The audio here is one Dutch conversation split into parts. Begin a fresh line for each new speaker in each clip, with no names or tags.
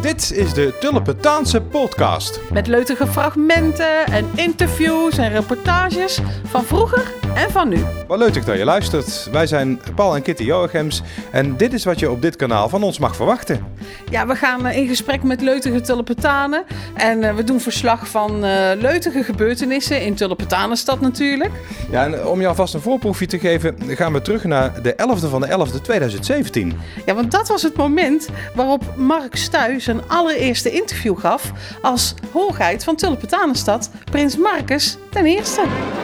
Dit is de Tulpentaanse podcast.
Met leutige fragmenten en interviews en reportages van vroeger en van nu.
Wat leuk dat je luistert. Wij zijn Paul en Kitty Joachims en dit is wat je op dit kanaal van ons mag verwachten.
Ja, we gaan eh, in gesprek met leutige Tulpentanen. En eh, we doen verslag van eh leutige gebeurtenissen in Tulpentanenstad natuurlijk.
Ja, en om je alvast een voorproefje te geven, gaan we terug naar de 11e van de 11e 2017.
Ja, want dat was het moment waarop Mark Stuy zijn allereerste interview gaf... als hoogheid van Tulpentanenstad, Prins Marcus ten eerste.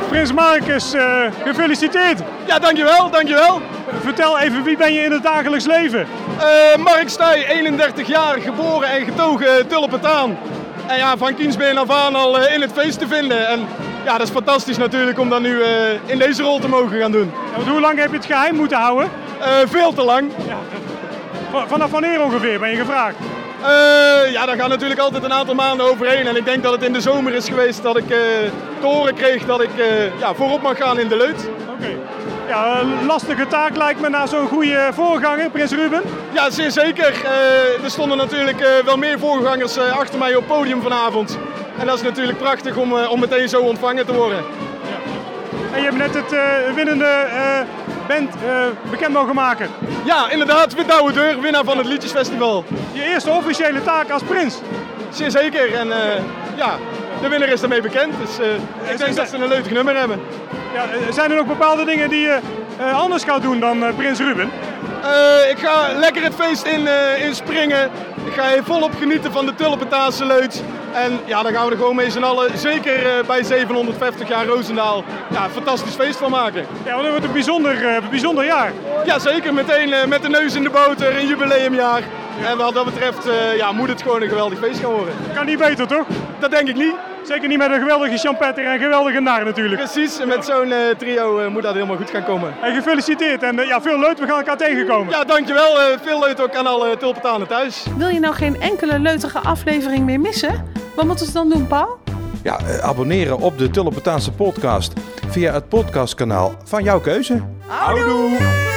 Prins Marcus, eh, gefeliciteerd.
Ja, dankjewel, dankjewel.
Vertel even, wie ben je in het dagelijks leven?
Eh Mark Stuy, 31 jaar, geboren en getogen Tulpentaan. En ja, van Kiensbeen af aan al eh, in het feest te vinden. En ja, dat is fantastisch natuurlijk om dat nu eh, in deze rol te mogen gaan doen.
Ja, want hoe lang heb je het geheim moeten houden?
Eh, veel te lang.
V- Vanaf wanneer ongeveer ben je gevraagd?
Eh, ja, daar gaan natuurlijk altijd een aantal maanden overheen. En ik denk dat het in de zomer is geweest dat ik eh te horen kreeg dat ik eh, ja, voorop mag gaan in de leut.
Oké. Ja, eh, lastige taak lijkt me na zo'n goede voorganger, Prins Ruben.
Ja, zeer zeker. Eh, er stonden natuurlijk eh, wel meer voorgangers eh, achter mij op het podium vanavond. En dat is natuurlijk prachtig om, eh, om meteen zo ontvangen te worden.
En je hebt net het eh, winnende eh, band eh, bekend mogen maken.
Ja, inderdaad, Wit Douwe Deur, winnaar van het Liedjesfestival.
Je eerste officiële taak als prins.
Zeer zeker. En eh, ja, de winnaar is daarmee bekend. Dus eh, ik denk dat ze een leuk nummer hebben.
Ja, eh, zijn er ook bepaalde dingen die je eh, anders gaat doen dan eh, Prins Ruben?
Eh, ik ga lekker het feest in, eh, in springen. Ik ga hier volop genieten van de Tulpentaanse leut. En ja, daar gaan we er gewoon mee z'n allen, zeker eh, bij 750 jaar Roosendaal, ja, een fantastisch feest van maken.
Ja, want dat wordt een bijzonder, eh, bijzonder jaar.
Ja, zeker. Meteen eh, met de neus in de boter, een jubileumjaar. En wat dat betreft eh, ja, moet het gewoon een geweldig feest gaan worden.
Kan niet beter, toch?
Dat denk ik niet.
Zeker niet met een geweldige champetter en geweldige naar natuurlijk.
Precies, en met zo'n eh, trio eh, moet dat helemaal goed gaan komen.
En gefeliciteerd en eh, ja, veel leuk, we gaan elkaar tegenkomen.
Ja, dankjewel. Eh, veel leuk ook aan alle Tulpentanen thuis.
Wil je nou geen enkele leutige aflevering meer missen? Wat moeten ze dan doen, Paul?
Ja, eh, abonneren op de Tulpentaanse podcast via het podcastkanaal van jouw keuze.
Houdoe!